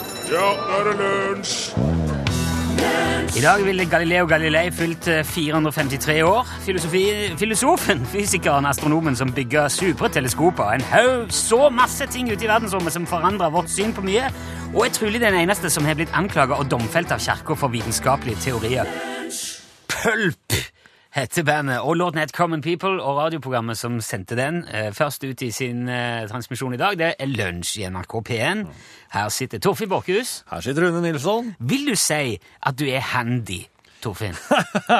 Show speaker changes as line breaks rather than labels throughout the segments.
er det lunsj!
I dag ville Galileo Galilei fylt eh, 453 år. Filosofi, filosofen, fysikeren, astronomen som bygger superteleskoper. En haug så masse ting ute i verdensrommet som forandrer vårt syn på mye, og er trolig den eneste som har blitt anklaga og domfelt av kirka for vitenskapelige teorier. Pølp heter bandet, og låten het Common People, og radioprogrammet som sendte den eh, først ut i sin eh, transmisjon i dag, det er Lunsj i NRK P1. Her sitter Torfinn Borchhus.
Her sitter Rune Nilsson.
Vil du si at du er handy, Torfinn?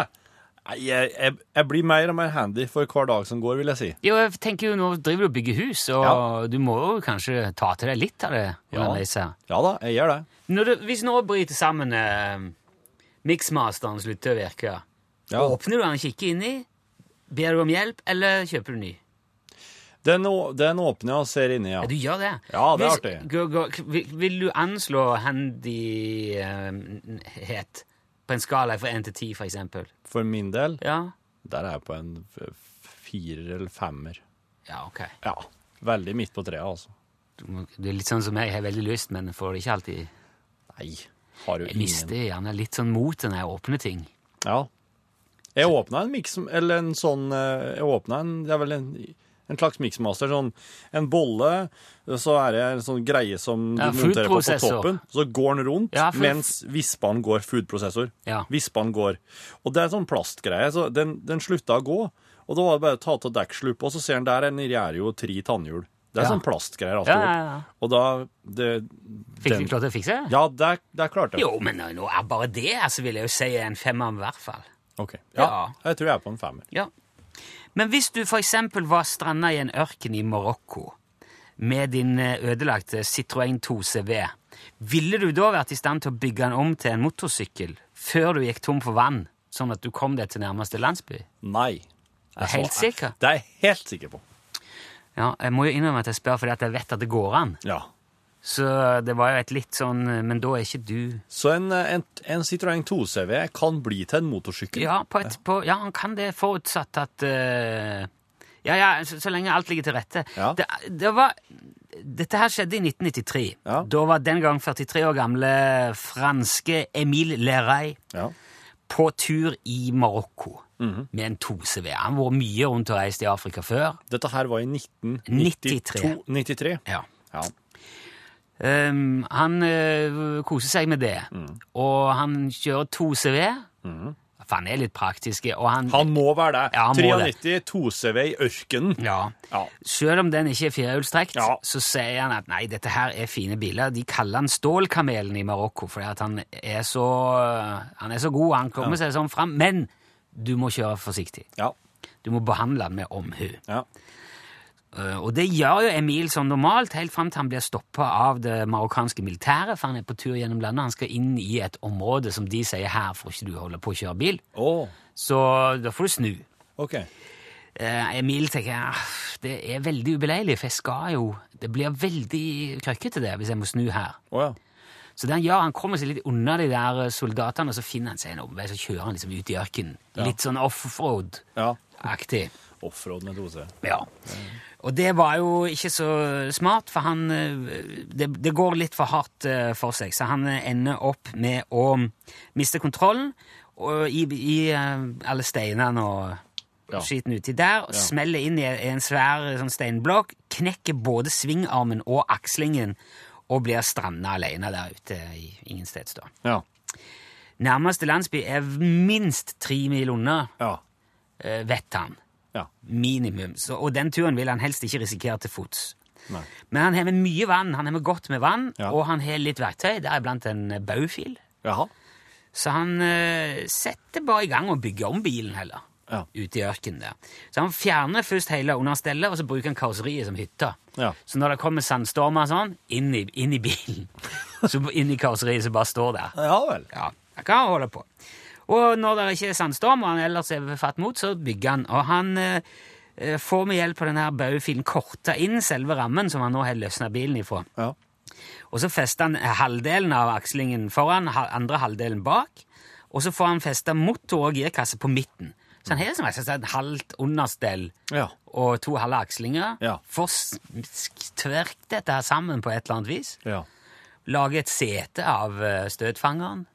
Nei, jeg, jeg, jeg blir mer og mer handy for hver dag som går, vil jeg si.
Jo, jeg tenker jo, Nå driver du og bygger hus, og du må jo kanskje ta til deg litt av det. underveis her.
Ja da, jeg gjør det.
Når du, hvis nå bryter sammen eh, miksmasteren slutter å virke,
Ja.
åpner du den og kikker inn i? Ber du om hjelp, eller kjøper du ny?
Den, å- den åpner jeg og ser inni, ja.
Ja, du gjør det?
Ja, det er
Hvis-
artig.
gå- gå- k- vil- vil du anslå handyhet på en skala fra 1 til 10, for eksempel?
For min del,
Ja?
der er jeg på en f- firer eller femmer.
Ja, ok.
Ja. Veldig midt på treet, altså.
Du, må- du er litt sånn som jeg, jeg har veldig lyst, men får det ikke alltid.
Nei, har jo
Jeg
ingen
mister gjerne litt sånn mot når jeg åpner ting.
Ja. Jeg åpna en mix, eller en sånn eh, Jeg åpna en Det er vel en, en slags mixmaster. Sånn en bolle, så er det en sånn greie som du
Ja,
monterer på på
foodprosessor.
toppen. Så går den rundt,
Ja, for-
mens vispene går. Foodprosessor.
Ja.
Vispene går. Og det er en sånn plastgreie, så den, den slutta å gå. Og da var det bare å ta av dekksluppa, og så ser en der en gjerde jo tre tannhjul. Det er
Ja.
sånn plastgreier. alt
Ja,
i hop.
ja, ja.
Og da det,
Fikk
den-
du klart å fikse det?
Ja, der, der klarte jeg
Jo, men nå er bare det, så vil jeg jo si en femmer i hvert fall.
Ok.
Ja.
ja. Jeg tror jeg er på en femmer.
Ja. Men hvis du for eksempel var stranda i en ørken i Marokko med din eh, ødelagte Citroën 2 CV, ville du da vært i stand til å bygge den om til en motorsykkel før du gikk tom for vann, sånn at du kom deg til nærmeste landsby?
Nei.
Er du helt sikker?
Det er jeg helt sikker på.
Ja, jeg må jo innrømme at jeg spør fordi at jeg vet at det går an.
Ja.
Så det var jo et litt sånn eh, Men da er ikke du
Så en, en, en Citroën 2CV kan bli til en motorsykkel?
Ja, på et, på, ja han kan det, forutsatt at eh, Ja, ja, så, så lenge alt ligger til rette.
Ja.
Det, det var, dette her skjedde i 1993.
Ja.
Da var den gang 43 år gamle franske Emile Leray
Ja.
på tur i Marokko med en 2CV. Han har vært mye rundt og reist i Afrika før.
Dette her var i 1992. 93.
Ja.
Ja.
Ehm, han eh, koser seg med det, og han kjører 2CV. For han er litt praktisk, og Mhm. han,
Han må være det.
Ja, han må det.
93 2CV i ørkenen.
Ja.
Ja.
Selv om den ikke er firehjulstrekt,
Ja.
så sier han at nei, dette her er fine biler. De kaller han Stålkamelen i Marokko fordi at han er så, han er så god, han kommer seg sånn fram. Men du må kjøre forsiktig.
Ja.
Du må behandle han med omhu.
ja.
Eh, Og det gjør jo Emil som normalt, helt fram til han blir stoppa av det marokkanske militæret, for han er på tur gjennom landet. Han skal inn i et område som de sier her får ikke du holde på å kjøre bil,
Å,
så da får du snu.
OK.
Eh, Emil tenker jeg, det er veldig ubeleilig, for jeg skal jo Det blir veldig krøkkete det hvis jeg må snu her.
Å ja.
Så det han gjør, han kommer seg litt unna de der eh, soldatene, og så finner han seg en omvei, så kjører han liksom ut i ørkenen. Litt sånn offroad-aktig.
ja. Offroad med 2CV.
Ja. Og det var jo ikke så smart, for han eh, Det, det går litt for hardt eh, for seg, så han eh, ender opp med å miste kontrollen og i, i eh, alle steinene og
Ja.
skiten uti der. og Smeller inn i en svær eh, sånn steinblokk, knekker både svingarmen og akslingen og blir stranda alene der ute i ingensteds. da.
Ja.
Nærmeste landsby er minst tre mil unna,
Ja.
eh, vet han.
Ja.
Minimum. Så, og den turen vil han helst ikke risikere til fots.
Nei.
Men han har med mye vann, han har med godt med vann,
Ja.
og han har litt verktøy, deriblant en eh, baufil.
Jaha.
Så han eh, setter bare i gang og bygger om bilen heller,
Ja.
ute i ørkenen der. Så han fjerner først hele understellet, og så bruker han karosseriet som hytta.
Ja.
Så når det kommer sandstormer og sånn, inn i, inn i bilen. Så inn i karosseriet som bare står der.
Ja vel.
Ja, jeg kan holde på. Og når det ikke er sandstorm, og han ellers er ved fatt mot, så bygger han. Og han eh, eh, får med hjelp av denne baufilen korta inn selve rammen som han nå har løsna bilen ifra.
Ja.
Og så fester han eh, halvdelen av akslingen foran, ha- andre halvdelen bak. Og så får han festa motor og girkasse på midten. Så han har som jeg sa, et halvt understell
Ja.
og to halve akslinger.
Ja.
Får s- sk- tverkt dette her sammen på et eller annet vis.
Ja.
Lage et sete av eh, støtfangeren.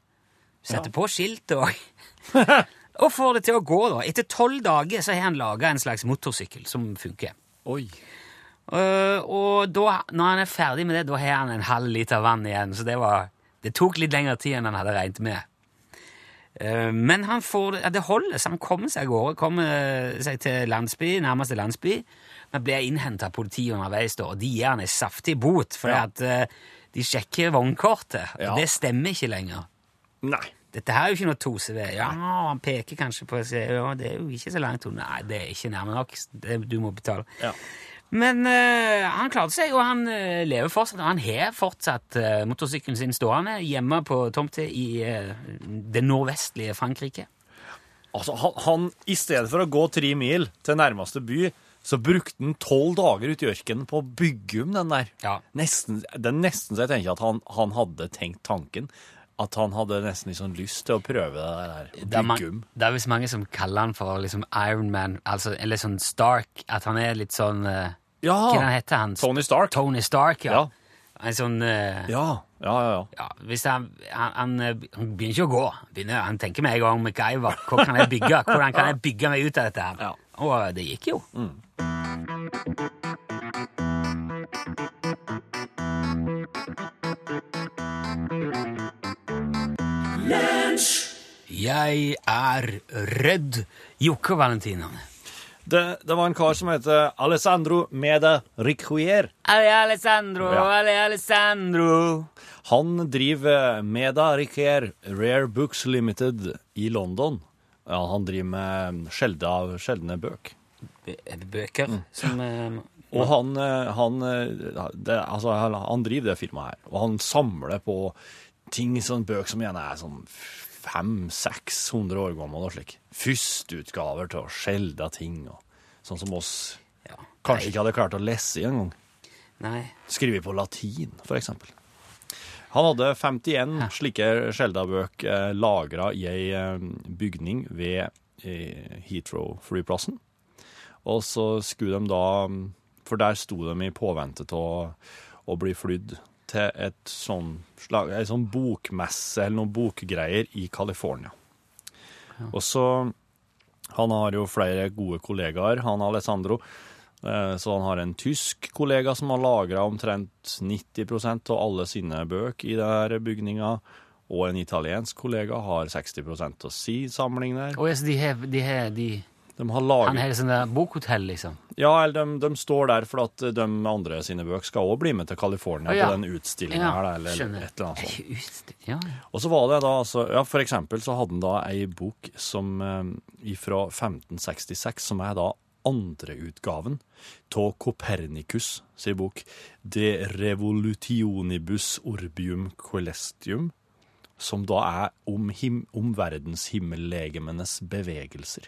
Sette på skilt og Og får det til å gå, da. Etter tolv dager så har han laga en slags motorsykkel som funker.
Oi.
Eh, og da, når han er ferdig med det, da har han en halv liter vann igjen. Så det, var, det tok litt lengre tid enn han hadde regnet med. Eh, men han får, det- ja, det holder, så han kommer seg av gårde. Kommer eh, seg til landsby, nærmeste landsby. Men blir innhenta av politiet underveis, da, og de gir han en saftig bot. For
Ja.
at, eh, de sjekker vognkortet, og
Ja.
det stemmer ikke lenger.
Nei.
Dette her er jo ikke noe tosevei. Ja, han peker kanskje på seg. Ja, det er jo ikke så langt unna. Nei, det er ikke nærme nok. Det, du må betale.
Ja.
Men eh, han klarte seg, og han eh, lever fortsatt. Og han har fortsatt eh, motorsykkelen sin stående hjemme på tomta i eh, det nordvestlige Frankrike.
Altså, han, han, I stedet for å gå tre mil til nærmeste by, så brukte han tolv dager ute i ørkenen på å bygge om den der.
Ja.
Nesten, det er nesten så jeg tenker at han, han hadde tenkt tanken. At han hadde nesten litt sånn lyst til å prøve det der. å
Det er, man,
Bygge om.
det er visst mange som kaller han for liksom Iron Man, altså, eller sånn Stark. At han er litt sånn eh,
Ja!
Hva er det han heter han?
Tony Stark.
Tony Stark, ja.
Ja.
En sånn eh,
Ja, ja, ja. ja.
ja, hvis han, han, han, eh, han begynner ikke å gå. Begynner, han tenker med en gang MacGyver. Hva kan jeg bygge? Hvordan kan jeg bygge meg ut av dette? her?
Ja. Mm.
Og eh, det gikk jo. Jeg er redd Jokke Valentinene.
Det, det var en kar som heter Alessandro Meda Riquier.
Alle Alessandro,
Ja.
alle Alessandro.
Han driver eh, Meda Riquier Rare Books Limited i London. Ja, han driver med sjeldne, av- sjeldne bøk.
B- Er det bøker
Mm.
som eh,
Og han, eh, han, eh, det, altså, han, han driver det firmaet her, og han samler på ting, sånn bøk som gjerne er sånn 500-600 år gammel og slik. Førsteutgaver til å skjelde ting, og sånn som oss
ja.
kanskje ikke hadde klart å lese en gang.
Nei.
Skrevet på latin, for eksempel. Han hadde 51 slike Skjelda-bøk eh, lagra i ei eh, bygning ved eh, Heathrow-flyplassen. Og så skulle de da For der sto de i påvente til å, å bli flydd til et sånn slag, ei sånn bokmesse eller noen bokgreier i California. Og så Han har jo flere gode kollegaer, han Alessandro. Eh, Så han har en tysk kollega som har lagra omtrent 90 av alle sine bøk i denne bygninga. Og en italiensk kollega har 60 av si samling der.
Å, ja, så de har, de har de,
De har
Han
laget,
har sånn der bokhotell, liksom.
ja, eller de, de står der for at de andre sine bøk skal òg bli med til California
Å, ja.
på den utstillinga her, da, eller
skjønner.
et eller annet sånt.
Ut, ja.
Og så var det da altså Ja, for eksempel så hadde han da ei bok som eh, fra 1566, som er da andreutgaven av Copernicus sin bok De revolutionibus orbium coelestium, som da er om, him, om verdenshimmellegemenes bevegelser.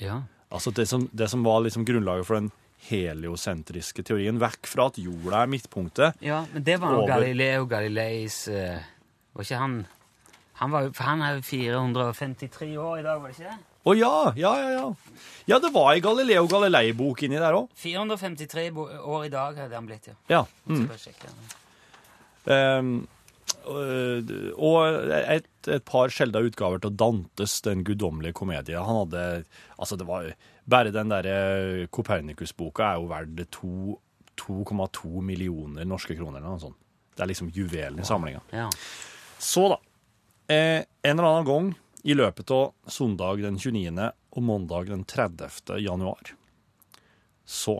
ja.
Altså det som, det som var liksom grunnlaget for den heliosentriske teorien, vekk fra at jorda er midtpunktet.
Ja, men det var jo
Over.
Galileo Galileis eh, Var ikke han Han var jo for han er jo 453 år i dag, var det ikke det?
Å ja, ja, ja, ja. Ja, det var ei Galileo Galilei-bok inni der òg.
453 bo- år i dag hadde han blitt, ja.
Ja.
Så bare sjekke han.
Mm. Ehm, og eh, og et, et par sjeldne utgaver til Dantes Den guddommelige komedie. Han hadde Altså, det var Bare den derre Copernicus-boka er jo verdt to- 2,2 millioner norske kroner eller noe sånt. Det er liksom juvelen i samlinga.
Ja.
Så, da. Eh, en eller annen gang i løpet av søndag den 29. og mandag den 30. januar, så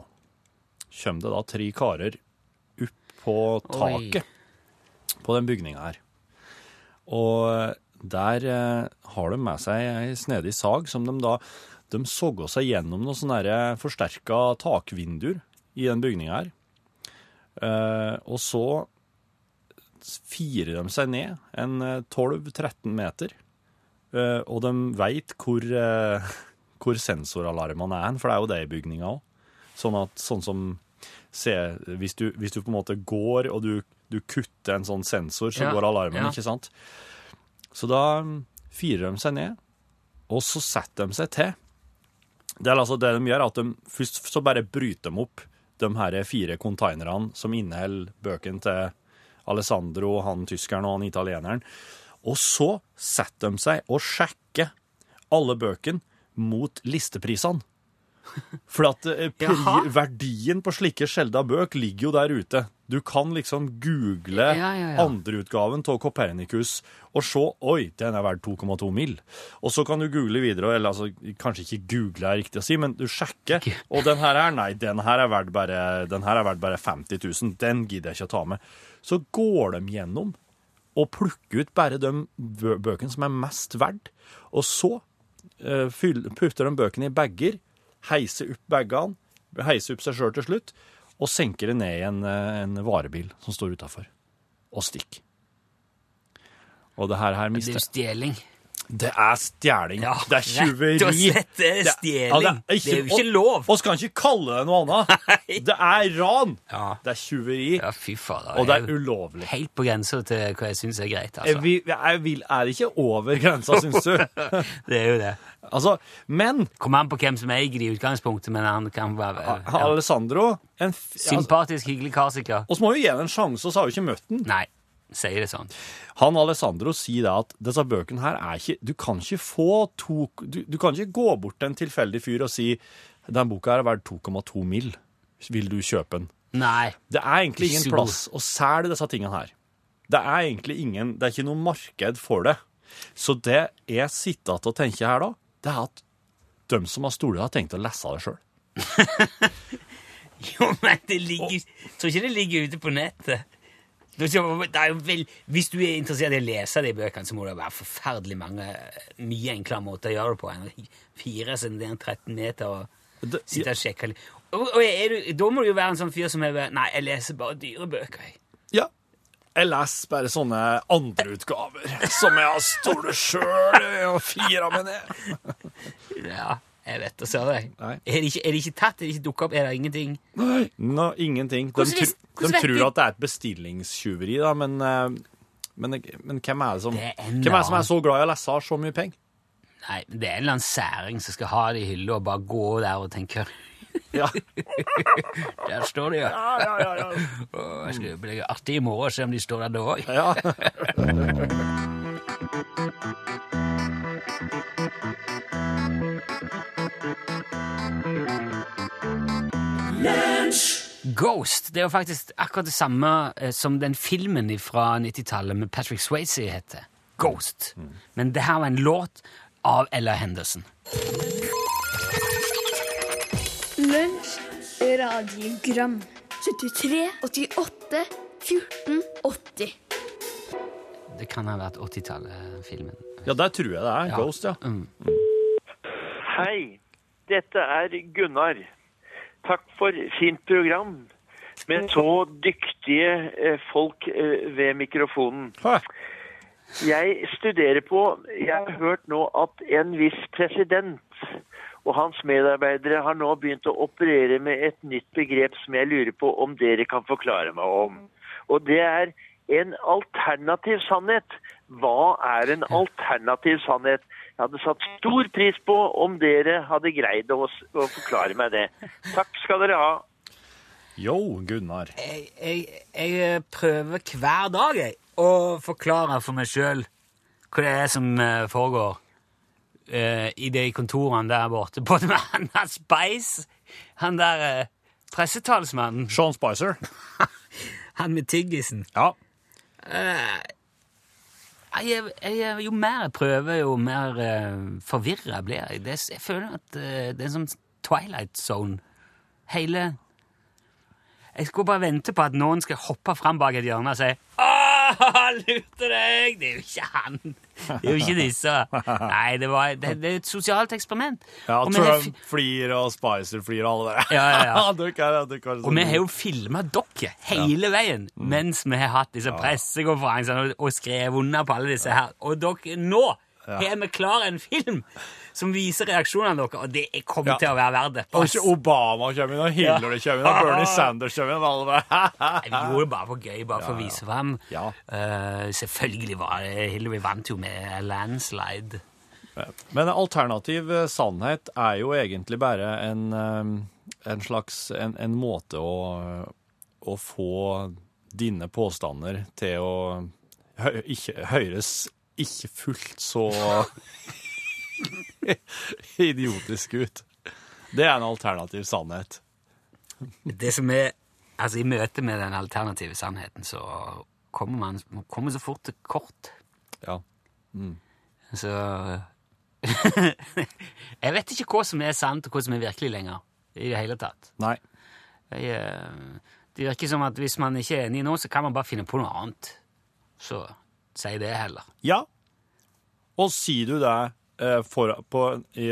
kommer det da tre karer opp på
Oi.
taket på den bygninga her. Og der eh, har de med seg ei snedig sag som de da De såg seg gjennom noen sånne forsterka takvinduer i den bygninga her. Eh, og så firer de seg ned en eh, 12-13 meter, eh, og de veit hvor, eh, hvor sensoralarmene er, hen, for det er jo det i bygninga òg. Sånn at sånn som se, hvis, du, hvis du på en måte går og du, du kutter en sånn sensor, så
Ja,
går alarmen,
ja.
ikke sant? Så da mm, firer de seg ned, og så setter de seg til. Det er altså det de gjør, at de først så bare bryter de opp de her fire konteinerne som inneholder bøkene til Alessandro, han tyskeren og han italieneren. Og så setter de seg og sjekker alle bøkene mot listeprisene. For at eh, pri,
Jaha.
verdien på slike sjelda bøk ligger jo der ute. Du kan liksom google
Ja, ja, ja.
andreutgaven av Copernicus og se Oi, den er verdt 2,2 mill. Og så kan du google videre, eller altså, kanskje ikke google er riktig å si, men du sjekker.
Ikke.
Og den her er Nei, den her er verdt bare, den her er verdt bare 50 000. Den gidder jeg ikke å ta med. Så går de gjennom og plukke ut bare de bø- bøkene som er mest verdt. Og så eh, fyll- putter de bøkene i bager, heiser opp bagene, heiser opp seg sjøl til slutt, og senker det ned i en, eh, en varebil som står utafor, og stikker. Og det her,
Det
her
er
mister
jo stjeling.
Det er stjeling.
Ja,
det er tjuveri.
Rett og slett, det er stjeling.
ja, altså,
det, er jo ikke lov.
Og, og skal ikke kalle det noe annet. Det er ran.
Ja.
Det er tjuveri,
Ja, fy fader.
og det
jeg
er ulovlig.
jo helt på grensa til hva jeg syns er greit,
Jeg,
altså.
vil, jeg vil, er det ikke over grensa, syns du?
Det er jo det.
Altså, men
Kommer an på hvem som eier det i utgangspunktet, men han kan være ja.
Alessandro en, f- altså,
Sympatisk, hyggelig kar, sikkert.
oss må jo gi ham en sjanse, så har vi ikke møtt han.
Nei, sier det sånn.
Han Alessandro sier da at disse bøkene her er ikke Du kan ikke få to Du, du kan ikke gå bort til en tilfeldig fyr og si den boka her er verdt 2,2 mill. Vil du kjøpe den?
Nei.
Det er egentlig ingen
Ikke så god.
plass å selge disse tingene her. Det er egentlig ingen, det er ikke noe marked for det. Så det jeg sitter til å tenke her da, det er at de som har stolet har tenkt å lese det selv.
Jo, men det ligger Jeg tror ikke det ligger ute på nettet. Det er jo vel, hvis du er interessert i å lese de bøkene, så må det være forferdelig mange mye enklere måter å gjøre det på enn å fire seg ned 13 meter og
Det-
sitte og sjekke litt. Og, og er du, da må du jo være en sånn fyr som er bare, Nei, jeg leser bare dyre bøker. jeg».
Ja. Jeg leser bare sånne andreutgaver som jeg har stolet selv og fira meg ned.
Ja, jeg vet og ser det.
Nei.
Er det, ikke, er det ikke tatt? Er det ikke dukket opp? Er det ingenting?
Nei, nå, ingenting. De,
Hvordan
tru,
vis- hvordan
de
vet de-
tror at det er et bestillingstjuveri, da, men, eh, men, men hvem er det som,
Det er en
hvem er det
annen.
som er så glad i å lese og har så mye penger?
Nei, men det er en eller annen særing som skal ha det i hylla og bare gå der og tenke
Ja.
Der står det, ja.
Ja, ja, ja, ja.
Å, jeg skal bli artig i morgen og se om de står der da òg.
ja.
Ghost det er jo faktisk akkurat det samme eh, som den filmen fra 90-tallet med Patrick Swayze heter. Ghost. Men det her var en låt av Ella Henderson.
Lunsj, radiogram 73, 88, 14, 80
Det kan ha vært 80-tallet-filmen.
Ja, der tror jeg det er. Ghost, ja.
Mm.
Hei, dette er Gunnar. Takk for fint program med så dyktige eh, folk eh, ved mikrofonen.
Hæ.
Jeg studerer på Jeg har hørt nå at en viss president og hans medarbeidere har nå begynt å operere med et nytt begrep som jeg lurer på om dere kan forklare meg om. Og det er en alternativ sannhet. Hva er en alternativ sannhet? Jeg hadde satt stor pris på om dere hadde greid å, å forklare meg det. Takk skal dere ha.
Yo, Gunnar.
Jeg, jeg, jeg prøver hver dag jeg, å forklare for meg sjøl hva det er som eh, foregår eh, i de kontorene der borte. Både med han der Spice, han der eh, pressetalsmannen,
Sean Spicer.
han med tyggisen.
Ja.
Nei, Jeg, jeg, jo mer jeg prøver, jo mer uh, forvirra blir jeg. Det, er- jeg føler at eh, det er en sånn Twilight Zone. Hele Jeg skulle bare vente på at noen skal hoppe fram bak et hjørne og si Åh, lurte deg! Det er jo ikke han! Det er jo ikke disse. Nei, det, var, det, det er et sosialt eksperiment.
ja
Og vi har fi-
Trump flir, og Spicer flir, og alle der.
Ja, ja, ja.
Dere er- dere er sånn-
Og vi har jo filma dere hele veien
Mm.
mens vi har hatt disse pressekonferansene og, og skrevet under på alle disse her. Og dere, nå har vi klar en film som viser reaksjonene deres, og det er- kommer
Ja.
til å være verdt det.
Og ikke Obama kommer inn, og Hillary kommer inn, og Bernie Sanders kommer inn, og alle der.
Nei, Vi gjorde det bare for gøy, bare for å vise frem.
Ja.
Eh, selvfølgelig var det Hillary vant jo med landslide.
Men alternativ eh, sannhet er jo egentlig bare en, eh, en slags en, en måte å, å få dine påstander til å hø ikke, høres ikke fullt så idiotisk ut. Det er en alternativ sannhet.
Det som er Altså, i møte med den alternative sannheten, så kommer man man kommer så fort til kort.
Ja.
Så eh. Jeg vet ikke hva som er sant, og hva som er virkelig lenger. I det hele tatt.
Nei.
Jeg, eh, det virker som at hvis man ikke er enig nå, så kan man bare finne på noe annet. Så si det heller.
Ja. Og sier du det eh, for, på, i,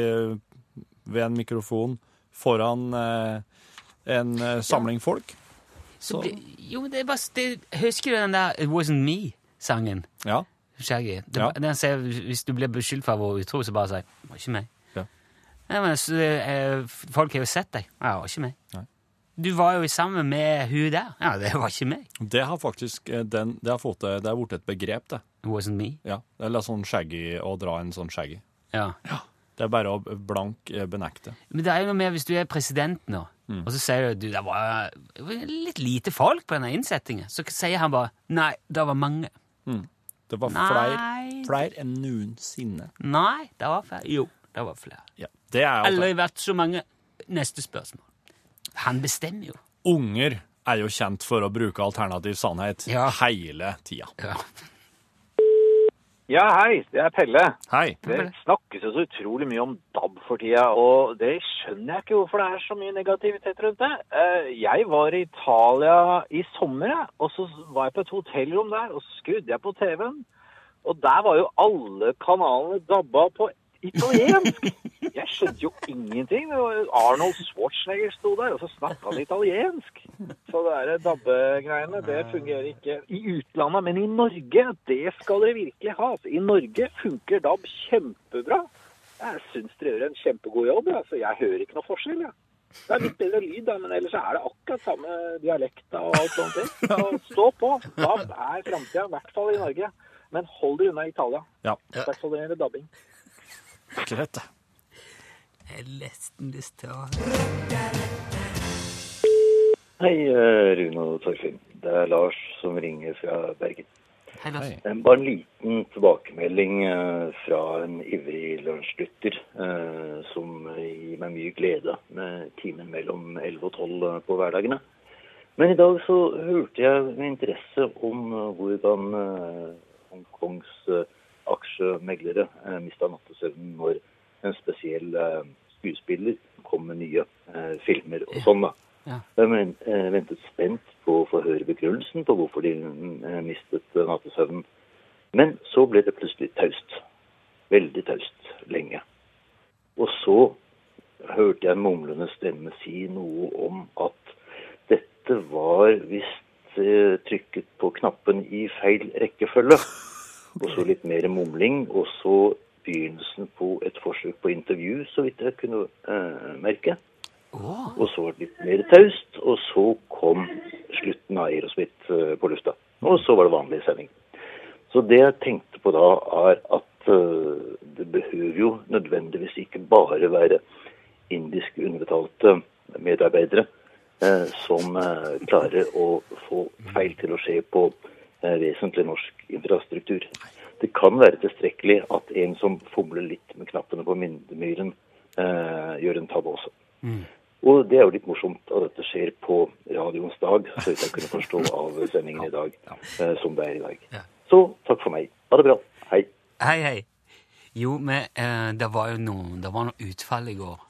ved en mikrofon foran eh, en eh, samling folk? Sånn.
Så blir- jo, men det er bare det, Husker du den der It Wasn't Me-sangen?
Ja.
Shaggy. Det,
Ja.
Den sier hvis du blir beskyldt for å være utro, så bare si 'Det var ikke meg'.
Ja.
Nei, men så, eh, Folk har jo sett deg. Ja, 'Det var ikke meg'.
Nei.
Du var jo sammen med hun der. Ja, det var ikke meg.
Det har faktisk eh, den, det har fått det, det er blitt et begrep, det.
It wasn't me.
Ja. Eller sånn shaggy, å dra en sånn shaggy.
Ja.
Det er bare å blank eh, benekte.
Men det er jo noe med hvis du er president nå, og så sier du du, det var litt lite folk på denne innsettingen, så sier han bare 'Nei, det var mange'.
Det var
Nei.
flere enn noensinne.
Nei, det var flere. Jo, det var flere.
Ja. Det er altså- jo at
Aldri vært så mange. Neste spørsmål. Han bestemmer jo.
unger er jo kjent for å bruke alternativ sannhet
Ja.
hele tida.
Ja.
Ja, hei, det er Pelle.
Hei.
Det snakkes jo så utrolig mye om DAB for tida, og det skjønner jeg ikke hvorfor det er så mye negativitet rundt det. Eh, Jeg var i Italia i sommer, jeg, og så var jeg på et hotellrom der, og så skrudde jeg på TV-en. Og der var jo alle kanalene dabba på italiensk. Jeg skjønte jo ingenting. Det var jo Arnold Schwarzenegger sto der, og så snakka han italiensk. Så det der dabbegreiene, det fungerer ikke i utlandet. Men i Norge, det skal dere virkelig ha. Altså, I Norge funker DAB kjempebra. Jeg syns dere gjør en kjempegod jobb, ja. så jeg hører ikke noe forskjell. Ja. Det er litt bedre lyd, da, men ellers er det akkurat samme dialekta og alt sånt. ting. Så stå på. DAB er framtida, i hvert fall i Norge. Men hold dere unna Italia.
Ja,
I hvert fall når det gjelder dabbing.
greit, det.
Jeg har nesten lyst til å
Hei, eh, Rune og Torfinn. Det er Lars som ringer fra Bergen.
Hei, Lars.
Hei.
Eh, Bare en liten tilbakemelding eh, fra en ivrig lunsjlytter eh, som gir meg mye glede med timen mellom 11 og 12 på hverdagene. Men i dag så hørte jeg med interesse om eh, hvordan eh, Hongkongs eh, aksjemeglere eh, mista nattesøvnen når en spesiell eh, skuespiller kom med nye eh, filmer og sånn, da. Jeg men- eh, ventet spent på å få høre begrunnelsen på hvorfor de eh, mistet eh, nattesøvnen. Men så ble det plutselig taust. Veldig taust lenge. Og så hørte jeg en mumlende stemme si noe om at dette var visst eh, trykket på knappen i feil rekkefølge. Og så litt mer mumling, og så begynnelsen på et forsøk på intervju, så vidt jeg kunne eh, merke. Og så var det litt mer taust, og så kom slutten av Aerosmith eh, på lufta. Og så var det vanlig sending. Så det jeg tenkte på da, er at eh, det behøver jo nødvendigvis ikke bare være indisk underbetalte medarbeidere eh, som eh, klarer å få feil til å skje på eh, vesentlig norsk infrastruktur. Det kan være tilstrekkelig at en som fomler litt med knappene på myndemyren, eh, gjør en tabbe også. Og det er jo litt morsomt at dette skjer på radioens dag, så vidt jeg kunne forstå av sendingen i dag, eh, som det er i
Ja.
dag. Så takk for meg. Ha det bra. Hei.
Hei, hei. Jo, men eh, det var jo noe, det var noe utfall i går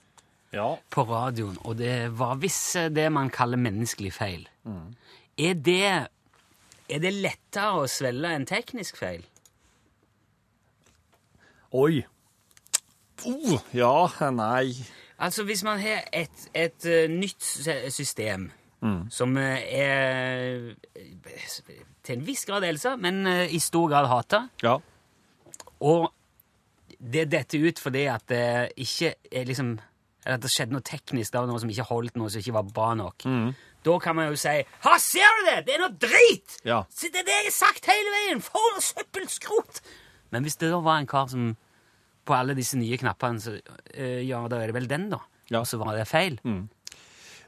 Ja.
på radioen, og det var visse det man kaller menneskelig feil. Er, det, er det lettere å svelle en teknisk feil?
Oi. Oh, ja, nei.
Altså, hvis man har et, et eh, nytt sy- system som eh, er eh, til en viss grad elsa, men eh, i stor grad hata,
Ja.
Og det detter ut fordi at det ikke er liksom eller at det skjedde noe teknisk, det var noe som ikke holdt, noe som ikke var bra nok.
Mm.
Da kan man jo si Ha, ser du det! Det er noe drit!
Ja.
Se, Det er det jeg har sagt hele veien! For noe søppelskrot! Men hvis det da var en kar som På alle disse nye knappene, så eh, Ja, da er det vel den, da.
Ja. Mm.
Og så var det feil.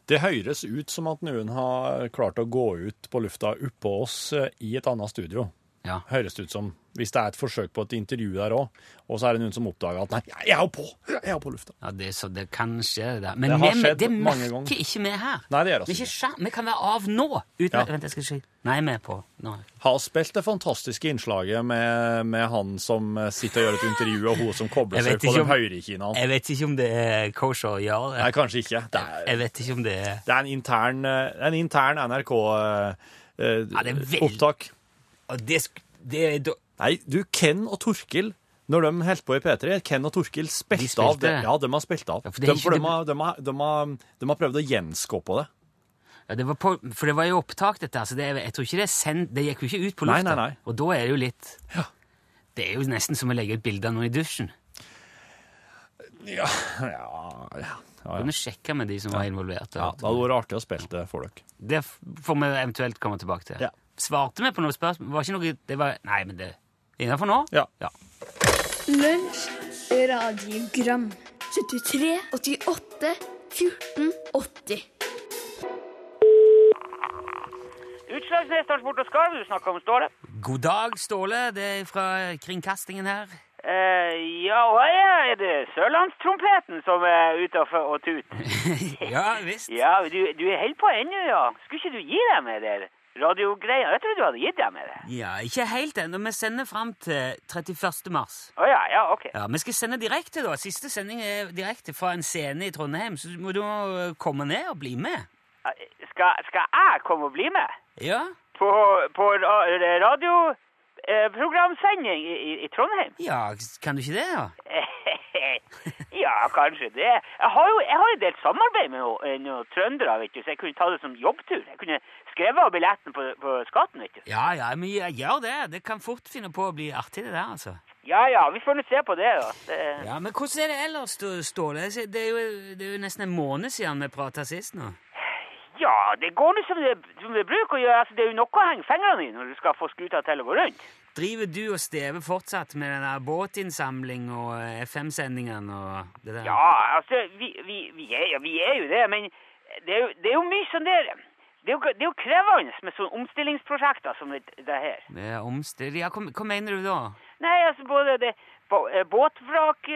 Det høres ut som at noen har klart å gå ut på lufta oppå oss eh, i et annet studio.
Ja.
Høres det ut som. Hvis det er et forsøk på et intervju der òg, og så er det noen som oppdager at nei, jeg er jo på! Jeg er jo på lufta.
Ja, det, så det kan skje. Det. Men
Det har
vi-
skjedd
det
mange
merker
ganger.
ikke vi her.
Nei, det gjør oss
vi, er ikke skjerm- vi kan være av nå. Uten,
Ja.
Vent, jeg skal si Nei, vi er på. Nå.
Har spilt det fantastiske innslaget med, med han som eh, sitter og gjør et intervju, og hun som kobler
Jeg
seg
vet
på
ikke
de
om-
høyre kinaene.
Jeg vet ikke om det er kosher å gjøre det.
Nei, kanskje ikke. Det er,
Jeg vet ikke om det er
det er en intern, eh, en intern eh,
Ja, det er veldig-
NRK-opptak.
Og det, sk- det er da
Nei, du, Ken og Torkil, når de holdt på i P3, Ken og Torkil
De
spilte,
spilte
av det.
det.
Ja, de har spilt av.
Ja, for
for
det er
de,
ikke-
for de, har, de, har, de, har, de har prøvd å gjenskape det.
ja, det var på, For det var jo opptak, dette. her, Så det, er- jeg tror ikke det er sendt Det gikk jo ikke ut på
Nei,
lufta.
nei, nei.
Og da er det jo litt Det er jo nesten som å legge ut bilde av noen i dusjen.
Ja, ja, ja. ja,
Du
ja.
må sjekke med de som var involvert. og
ja
alt.
det hadde vært artig å spille det for dere.
Det f- får vi eventuelt komme tilbake til.
Ja.
Svarte vi på noe spørsmål? Var ikke noe det var, Nei, men det Innafor nå?
Ja.
Lunsj, radiogram 73, 88, 14, 80
Utslagsnes Transport og Skarv, du snakka om Ståle.
God dag, Ståle. Det er fra kringkastingen her.
Eh, ja, og her er det sørlandstrompeten som er utafor og tut?
ja visst.
Ja, du, du er helt på ennå, ja. Skulle ikke du gi deg med det radiogreia? Jeg trodde du hadde gitt deg med det.
Ja, ikke helt ennå. Vi sender fram til 31. mars.
Å ja, ja, ok.
Ja, Vi skal sende direkte, da. Siste sending er direkte fra en scene i Trondheim, så du må da komme ned og bli med.
Eh, Skal, skal jeg komme og bli med?
Ja?
På, på radioprogramsending i, i, i Trondheim?
Ja, kan du ikke det, da?
ja, kanskje det. Jeg har jo jeg har en del samarbeid med noen, noen trøndere, vet du, så jeg kunne ta det som jobbtur. Jeg kunne skrevet av billetten på, på skatten, vet du.
Ja, ja, men jeg gjør det. Det kan fort finne på å bli artig, det der, altså.
Ja, ja, vi får nå se på det, da. Det,
Ja, Men hvordan er det ellers, Stå- Ståle? Det er jo, det er jo nesten en måned siden vi prata sist nå.
ja, det går nå som det, som det bruker å gjøre. Altså, det er jo noe å henge fingrene i når du skal få skuta til å gå rundt.
Driver du og Steve fortsatt med den der båtinnsamling og eh, FM-sendingene og det der?
Ja, altså, vi, vi, vi, er, ja, vi er jo det, men det er jo, det er jo mye sånn der det er, jo, det er jo krevende med sånne omstillingsprosjekter som det, det her.
Med omstil... Ja, hva, hva mener du da?
Nei, altså både det bå- eh,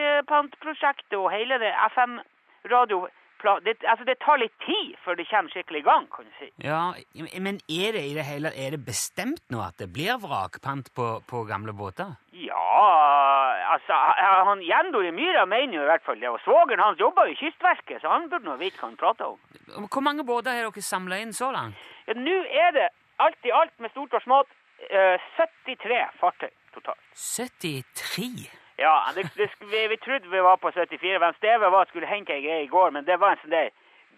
båtvrakpantprosjektet og hele det FM-radio... Det, altså det tar litt tid før det kommer skikkelig i gang, kan du si.
Ja, Men er det i det hele er det bestemt nå at det blir vrakpant på, på gamle båter?
Ja, altså han han Jendor i Myra mener jo i hvert fall det, og svogeren hans jobber jo i Kystverket, så han burde nå vite hva han prater om.
Hvor mange båter har dere samla inn så langt?
Ja, nå er det alt i alt med stort og smått eh, 73 fartøy totalt.
73?
Ja, det, det, sk- vi, vi trodde vi var på 74. Hvem Steve var, skulle hente ei greie i går, men det var en sånn der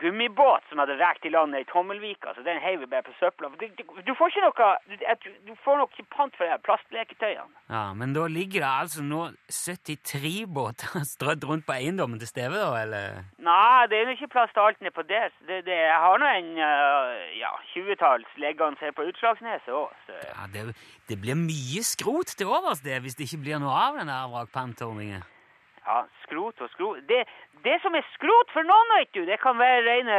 gummibåt som hadde rekt i land i Tommelvika, så den heiv vi bare på søpla. Du, du, du får ikke noe du, jeg tror- du får nok ikke pant for de her plastleketøyene.
Ja, Men da ligger det altså nå 73 båter strødd rundt på eiendommen til Steve, da? eller?
Nei, det er jo ikke plass til alt nedpå der. så Det, det, jeg har nå en øh, ja, 20-talls liggende her på Utslagsneset òg, så
Ja, det, det blir mye skrot til overs det, hvis det ikke blir noe av den der vrakpantordningen.
ja, skrot og skrot det, det som er skrot for noen, vet du, det kan være rene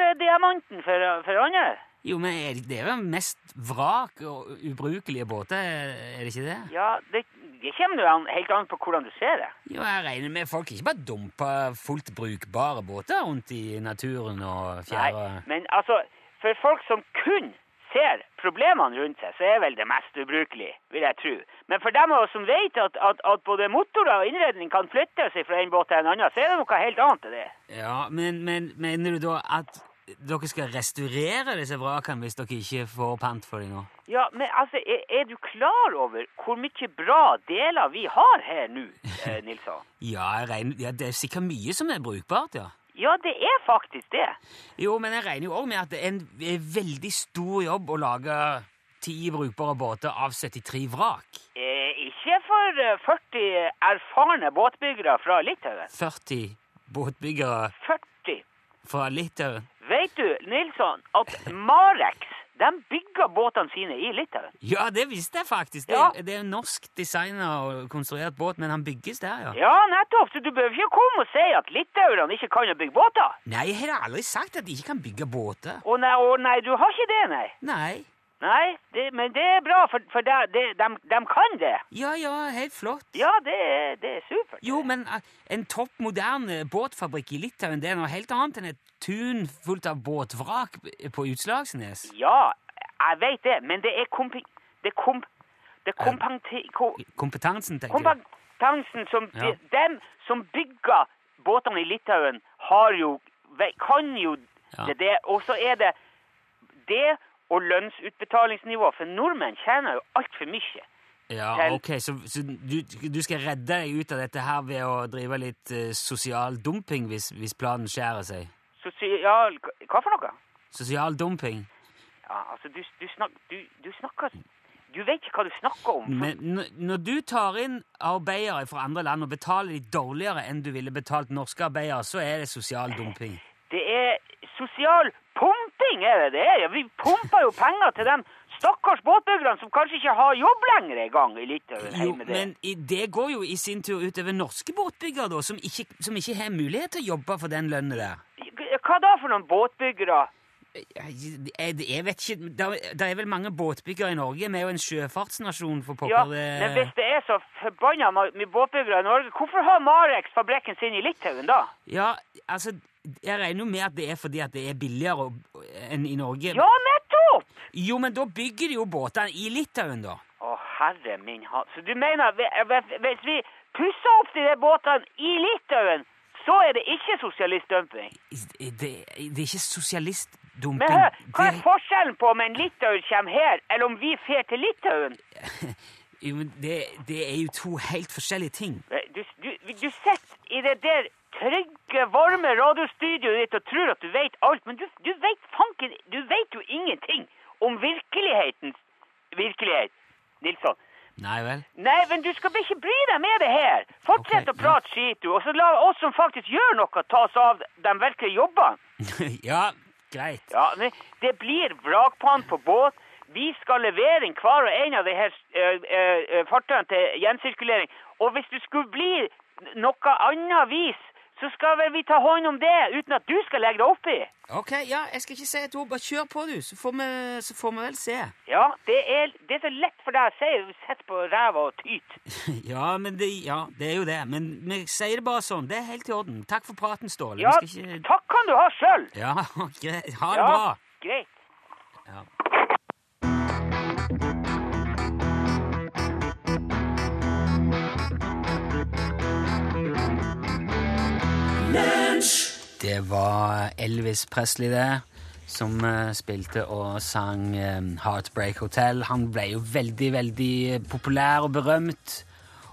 gulldiamanten for, for andre.
Jo, men er det, det er vel mest vrak og ubrukelige båter, er det ikke det?
Ja, det, det kommer jo an, helt an på hvordan du ser det.
Jo, jeg regner med folk ikke bare dumper fullt brukbare båter rundt i naturen og fjæra.
men altså, for folk som kun ser problemene rundt seg, så er vel det mest ubrukelig, vil jeg tro. Men for dem av oss som vet at, at, at både motorer og innredning kan flytte seg fra en båt til en annen, så er det noe helt annet enn det.
Ja, men, men mener du da at dere skal restaurere disse vrakene hvis dere ikke får pant for dem nå?
Ja, men altså, er, er du klar over hvor mye bra deler vi har her nå, eh, Nilsson?
Ja, jeg regner, ja, det er sikkert mye som er brukbart, ja.
Ja, det er faktisk det.
Jo, men jeg regner jo òg med at det er en eh, veldig stor jobb å lage ti brukbare båter av 73 vrak.
Eh, ikke for eh, 40 erfarne båtbyggere fra Litauen.
40 båtbyggere
40.
fra Litauen.
Vet du, Nilsson, at Marex, De bygger båtene sine i Litauen.
Ja, det visste jeg faktisk. Det,
Ja.
det er en norsk designer og konstruert båt, men han bygges der, ja.
Ja, nettopp! Så du behøver ikke komme og si at litauerne ikke kan å bygge båter.
Nei, jeg har aldri sagt at de ikke kan bygge båter.
Å nei, å nei, du har ikke det, nei.
Nei.
Nei, det, men det er bra, for, for der, det, de, de kan det.
Ja, ja, helt flott.
Ja, det er, det er supert.
Jo, men eh, en topp moderne båtfabrikk i Litauen, det er noe helt annet enn et tun fullt av båtvrak på Utslagsnes.
Ja, jeg vet det, men det er kompi... Det er komp... Det er kompanti... Ko,
Kompetansen, tenker jeg.
kompetansen som...
Ja.
Dem som bygger båtene i Litauen har jo... ve- Kan jo
Ja.
det, det. Og så er det det og lønnsutbetalingsnivå, for nordmenn tjener jo alt for mye.
Ja,
Selv.
ok, så, så du, du skal redde deg ut av dette her ved å drive litt eh, sosial dumping hvis, hvis planen skjærer seg?
Sosial... Hva for noe?
Sosial dumping?
Ja, altså, du, du, snak, du, du snakker... Du vet ikke hva du snakker om. for-
Men n- når du tar inn arbeidere fra andre land og betaler de dårligere enn du ville betalt norske arbeidere, så er det sosial dumping.
Det er sosial pumping, er det det er? Ja, Vi pumper jo penger til dem stakkars båtbyggerne som kanskje ikke har jobb lenger engang i Litauen.
Jo,
hjemme der.
men i, det går jo i sin tur utover norske båtbyggere, da, som ikke, som ikke har mulighet til å jobbe for den lønna der.
Hva da for noen båtbyggere?
Jeg, jeg jeg vet ikke der, der er vel mange båtbyggere i Norge? Vi er jo en sjøfartsnasjon, for pokker. eh.
Ja,
det-
men Hvis det er så forbanna ma- mye båtbyggere i Norge, hvorfor har Marex fabrikken sin i Litauen da?
Ja, altså, jeg regner jo med at det er fordi at det er billigere å- enn i Norge.
Ja, nettopp!
Jo, men da bygger de jo båtene i Litauen, da.
Å, herre min hatt. Så du mener vi- vi- hvis vi pusser opp de der båtene i Litauen, så er det ikke sosialistdumping?
eh, Det, det er ikke
Men
sosialistdumping.
hør, hva er
Det-
forskjellen på om en litauer kommer her, eller om vi fer til Litauen?
Jo, men det, det er jo to helt forskjellige ting.
Eh, Du, du, du sitter i det der trygge, varme radiostudioet ditt og tror at du vet alt, men du, du vet fanken Du vet jo ingenting om virkelighetens virkelighet, Nilsson.
Nei vel?
Nei, men du skal ikke bry deg med det her. Fortsett
Ok,
å prate skit, du, og så la oss som faktisk gjør noe, ta oss av de virkelige jobbene.
ja, greit.
Ja, men det blir vrakpant på båt. Vi skal levere inn hver og en av de her eh, eh, fartøyene til gjensirkulering. Og hvis du skulle bli noe annet vis, så skal vel vi ta hånd om det, uten at du skal legge deg opp i.
Ok, ja, jeg skal ikke si et ord. Bare kjør på, du, så får vi, så får vi vel se.
Ja, det er, det er så lett for deg å si. Du sitter på ræva og tyter.
Ja, men det, ja, det er jo det. Men vi sier det bare sånn. Det er helt i orden. Takk for praten, Ståle.
Ja,
Vi skal ikke...
takk kan du ha sjøl.
Ja, greit. Ha det
Ja,
bra.
greit.
Det var Elvis Presley, det, som eh, spilte og sang eh, Heartbreak Hotel. Han ble jo veldig, veldig populær og berømt,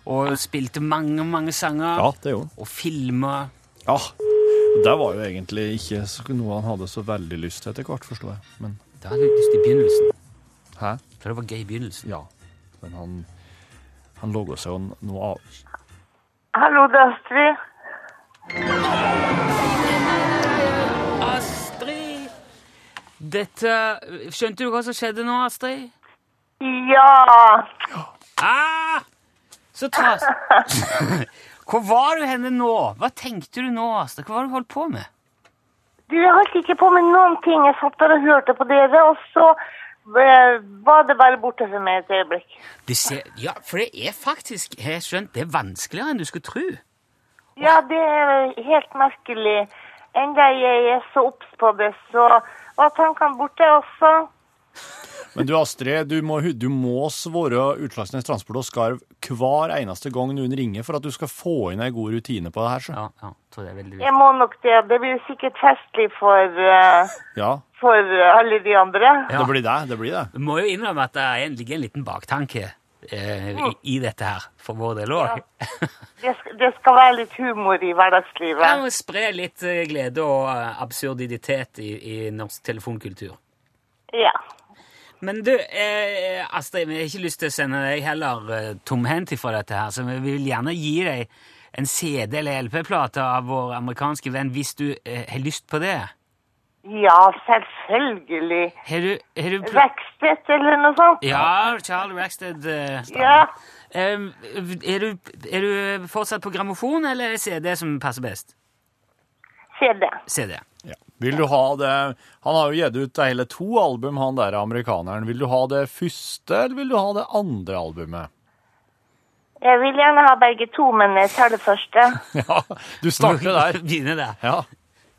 og spilte mange, mange sanger.
Ja, det gjorde han.
Og filmer.
Ja. Det var jo egentlig ikke så- noe han hadde så veldig lyst til etter hvert, forstår jeg. Men
Da hadde jeg lyst i begynnelsen.
hæ?
For det var gøy i begynnelsen.
Ja. Men han, han logga seg jo noe av.
Hallo, det er Astrid.
Astrid! Dette Skjønte du hva som skjedde nå, Astrid?
Ja,
Ah! Så tras... Hvor var du henne nå? Hva tenkte du nå, Astrid? Hva var det du holdt på med?
du, jeg holdt ikke på med noen ting. Jeg satt der og hørte på dere, og så eh, var det bare borte for meg et øyeblikk.
Du ser, ja, for det er faktisk, jeg har skjønt, det er vanskeligere enn du skulle tro.
Ja, det er helt merkelig. Enda jeg er så obs på det, så var tankene borte også.
Men du Astrid, du må, hu- du må svare Utslagsnes Transport og Skarv hver eneste gang noen ringer for at du skal få inn ei god rutine på det her. Så.
Ja, ja, tror det er veldig viktig.
Jeg må nok det. Det blir sikkert festlig for, eh,
Ja,
for alle de andre.
Ja.
det blir det. Det blir det.
Du må jo innrømme at det er en- ligger en liten baktanke eh, i, i dette her, for vår del òg.
Det, sk- det skal være litt humor i
Ja.
hverdagslivet.
må Spre litt eh, glede og eh, absurditet i, i norsk telefonkultur.
Ja.
Men du, eh, Astrid, vi har ikke lyst til å sende deg heller eh, tomhendt ifra dette her, så vi vil gjerne gi deg en CD- eller LP-plate av vår amerikanske venn hvis du eh, har lyst på det.
Ja, selvfølgelig.
Har du, har du pla-
Vekstett eller noe sånt?
Ja, Charlie Rackstead. eh,
Ja.
Em, er, du, er du fortsatt på grammofon, eller er det CD som passer best?
CD.
CD.
Ja. Vil du ha det Han har jo gitt ut hele to album, han der amerikaneren. Vil du ha det første, eller vil du ha det andre albumet?
Jeg vil gjerne ha begge to, men jeg tar det første.
Ja, du starter der.
Begynner der.
Ja.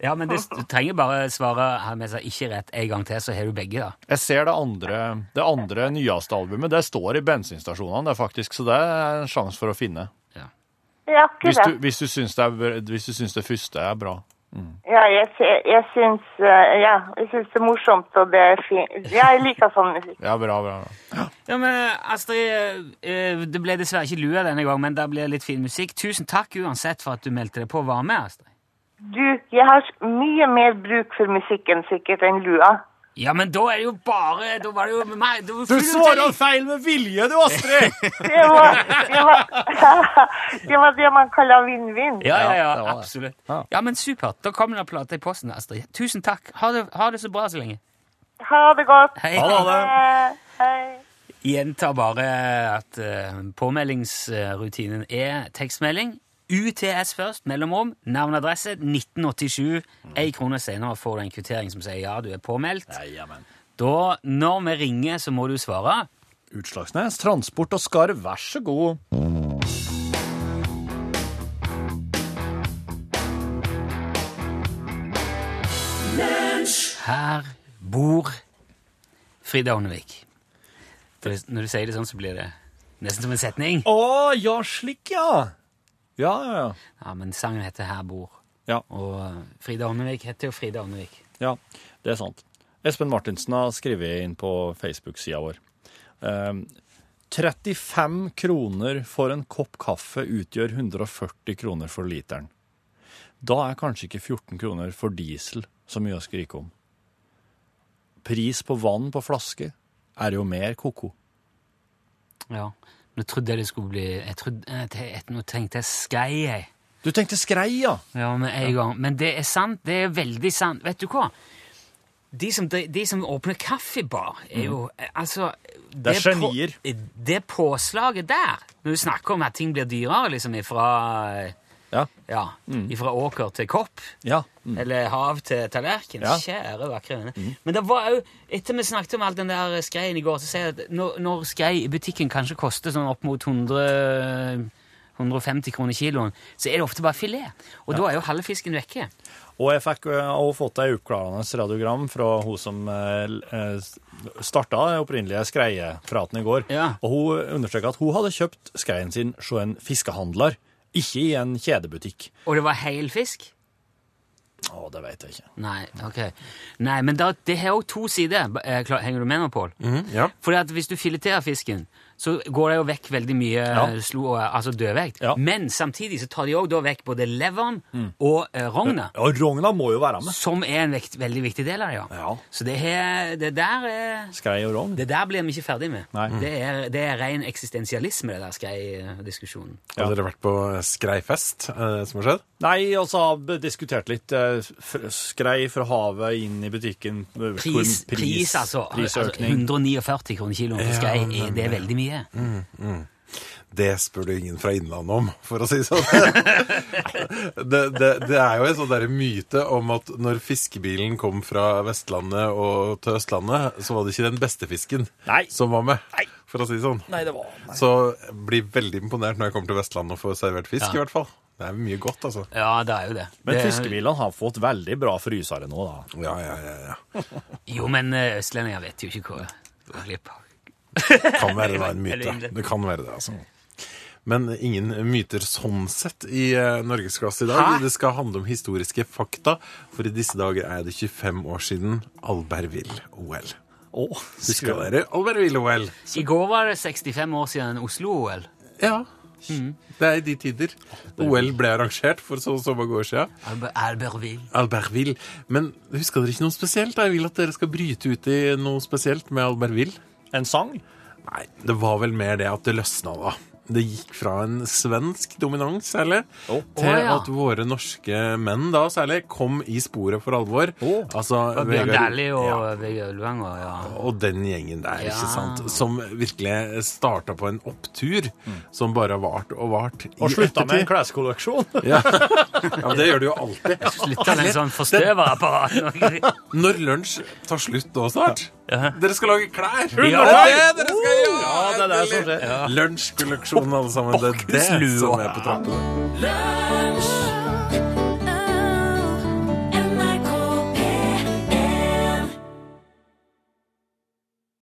Ja, men det, du trenger bare svare her med seg ikke rett en gang til, så har du begge, da.
Jeg ser det andre, det andre nyeste albumet. Det står i bensinstasjonene, det er faktisk, så det er en sjanse for å finne.
Ja,
Hvis du,
akkurat.
hvis du, syns, det er, br- hvis du syns det første er bra.
Ja, jeg, sy- jeg syns eh, Ja, jeg syns det er morsomt, og det er fint. Ja, jeg liker sånn musikk.
Ja, bra, bra. bra.
Ja, men eh, Astrid, eh, det ble dessverre ikke lua denne gangen, men det ble litt fin musikk. Tusen takk uansett for at du meldte deg på og var med, Astrid.
Du, jeg har s- mye mer bruk for musikken sikkert enn lua.
Ja, men da er det jo bare Da var det jo meg Du,
Du svarer feil med vilje, du, Astrid!
Det var det, var, det, var det man kaller vinn-vinn.
Ja, ja, ja,
Ja, det var det.
absolutt.
Ja.
Ja, men supert. Da kommer det en plate i posten, Astrid. Tusen takk. Ha det, ha det så bra så lenge.
Ha det godt.
Hei.
Ha det.
Eh, Hei.
Gjentar bare at eh, påmeldingsrutinen er tekstmelding. UTS først, mellomrom, navn og adresse, 1987. Ei krone senere får du en kvittering som sier ja, du er påmeldt. Da, når vi ringer, så må du svare.
Utslagsnes, Transport og Skarv, vær så god.
Her bor Frida Åndevik. Når du- Når du sier det sånn, så blir det nesten som en setning.
Å, ja, slik, ja. Ja, ja, ja.
Ja, men sangen heter Her bor.
Ja.
Og eh, Frida Åndevik heter jo Frida Åndevik.
Ja, det er sant. Espen Martinsen har skrevet inn på Facebook-sida vår. Ehm, 35 kroner for en kopp kaffe utgjør 140 kroner for literen. Da er kanskje ikke 14 kroner for diesel så mye å skrike om. Pris på vann på flaske er jo mer ko-ko.
Ja. Nå trodde jeg det skulle bli jeg trodde, eh, te- et- Nå tenkte jeg skrei, jeg.
Du tenkte skrei, ja?
Ja, med en gang. Men det er sant. Det er veldig sant. Vet du hva? De som, de, de som åpner kaffebar, er jo eh, Altså Det
er
på- eh, Det påslaget der, når du snakker om at ting blir dyrere, liksom ifra eh,
Ja.
Ja, ifra åker til kopp,
Ja. Mm.
eller hav til tallerken.
Ja. Mm.
Kjære, vakre vene. Men det var jo, etter vi snakket om all den der skreien i går, så sier jeg at når, når skrei i butikken kanskje koster sånn opp mot 100 150 kroner kiloen, så er det ofte bare filet. Og da er jo halve fisken vekke.
Og jeg fikk eh, også fått ei oppklarende radiogram fra hun som starta den opprinnelige skreiepraten i går.
Ja.
Og hun understreka at hun hadde kjøpt skreien sin hos en fiskehandler, ikke i en kjedebutikk.
Og det var hel fisk?
Å, det veit jeg ikke.
Nei, ok. Nei, men da, det har jo to sider. Eh, klar- Henger du med nå, Pål?
Mhm, Ja.
Fordi at hvis du fileterer fisken, så går det jo vekk veldig mye
Ja.
slo, altså dødvekt.
Ja. Mm.
Men samtidig så tar de òg vekk både leveren og eh, rogna,
Ja, Rogna må jo være med.
som er en vekt, veldig viktig del av det. ja.
Ja.
Så det, er, det der er
Skrei og rogn.
det der blir vi ikke ferdig med.
Nei.
Det, er, det er ren eksistensialisme, det der eh, skrei-diskusjonen.
Har dere vært på skreifest eh, som har skjedd?
Nei, og så har vi diskutert litt eh, f- skrei fra havet inn i butikken. eh, hvor-
Pris, pris, altså. altså.
Prisøkning.
149 kroner kiloen for skrei, er eh, det er veldig mye?
Det spør du ingen fra Innlandet om, for å si det sånn. det, det, det er jo en sånn der myte om at når fiskebilen kom fra Vestlandet og til Østlandet, så var det ikke den beste fisken
Nei.
som var med, for å si det sånn.
Nei, det var
Så jeg blir veldig imponert når jeg kommer til Vestlandet og får servert fisk, i hvert fall. Det er mye godt, altså.
Ja, det er jo det.
Men
det,
fiskebilene har fått veldig bra frysere nå, da.
Ja, ja, ja. ja.
Jo, men eh, østlendinger vet jo ikke hva de går glipp av.
Kan være det var en
Eller
myte.
innrømme.
Det kan være det, altså. Men ingen myter sånn sett i eh, Norgesklasse i dag.
Hæ?
Det skal handle om historiske fakta, for i disse dager er det 25 år siden Albertville-OL.
Åh,
Husker dere Albertville-OL?
I går var det 65 år siden Oslo-OL.
Ja.
Mm.
Det er i de tider. OL ble arrangert for så og så mange år siden.
Albe- Albertville.
Albertville. Men huska dere ikke noe spesielt? Jeg vil at dere skal bryte ut i noe spesielt med Albertville.
En sang?
Nei, det var vel mer det at det løsna da. det gikk fra en svensk dominans særlig, til
Å, ja.
at våre norske menn da særlig kom i sporet for alvor. Altså,
Bjørn
Vegard-
Dæhlie og Vegard Ulvang og ja.
og den gjengen der,
Ja.
ikke sant? Som virkelig starta på en opptur som bare har vart og vart. i
Mm. Og slutta med
ettertid.
en kleskolleksjon.
Ja. ja, men det gjør det jo alltid.
Slutta med en sånn forstøverapparat.
Når lunsj tar slutt nå snart Dere skal lage klær!
Ja.
Det er det dere skal gjøre!
Ja, det er det som skjer.
Lunsjkolleksjonen, alle sammen. Det er det
Bakhuslua.
som er på trappene.
Lunsj!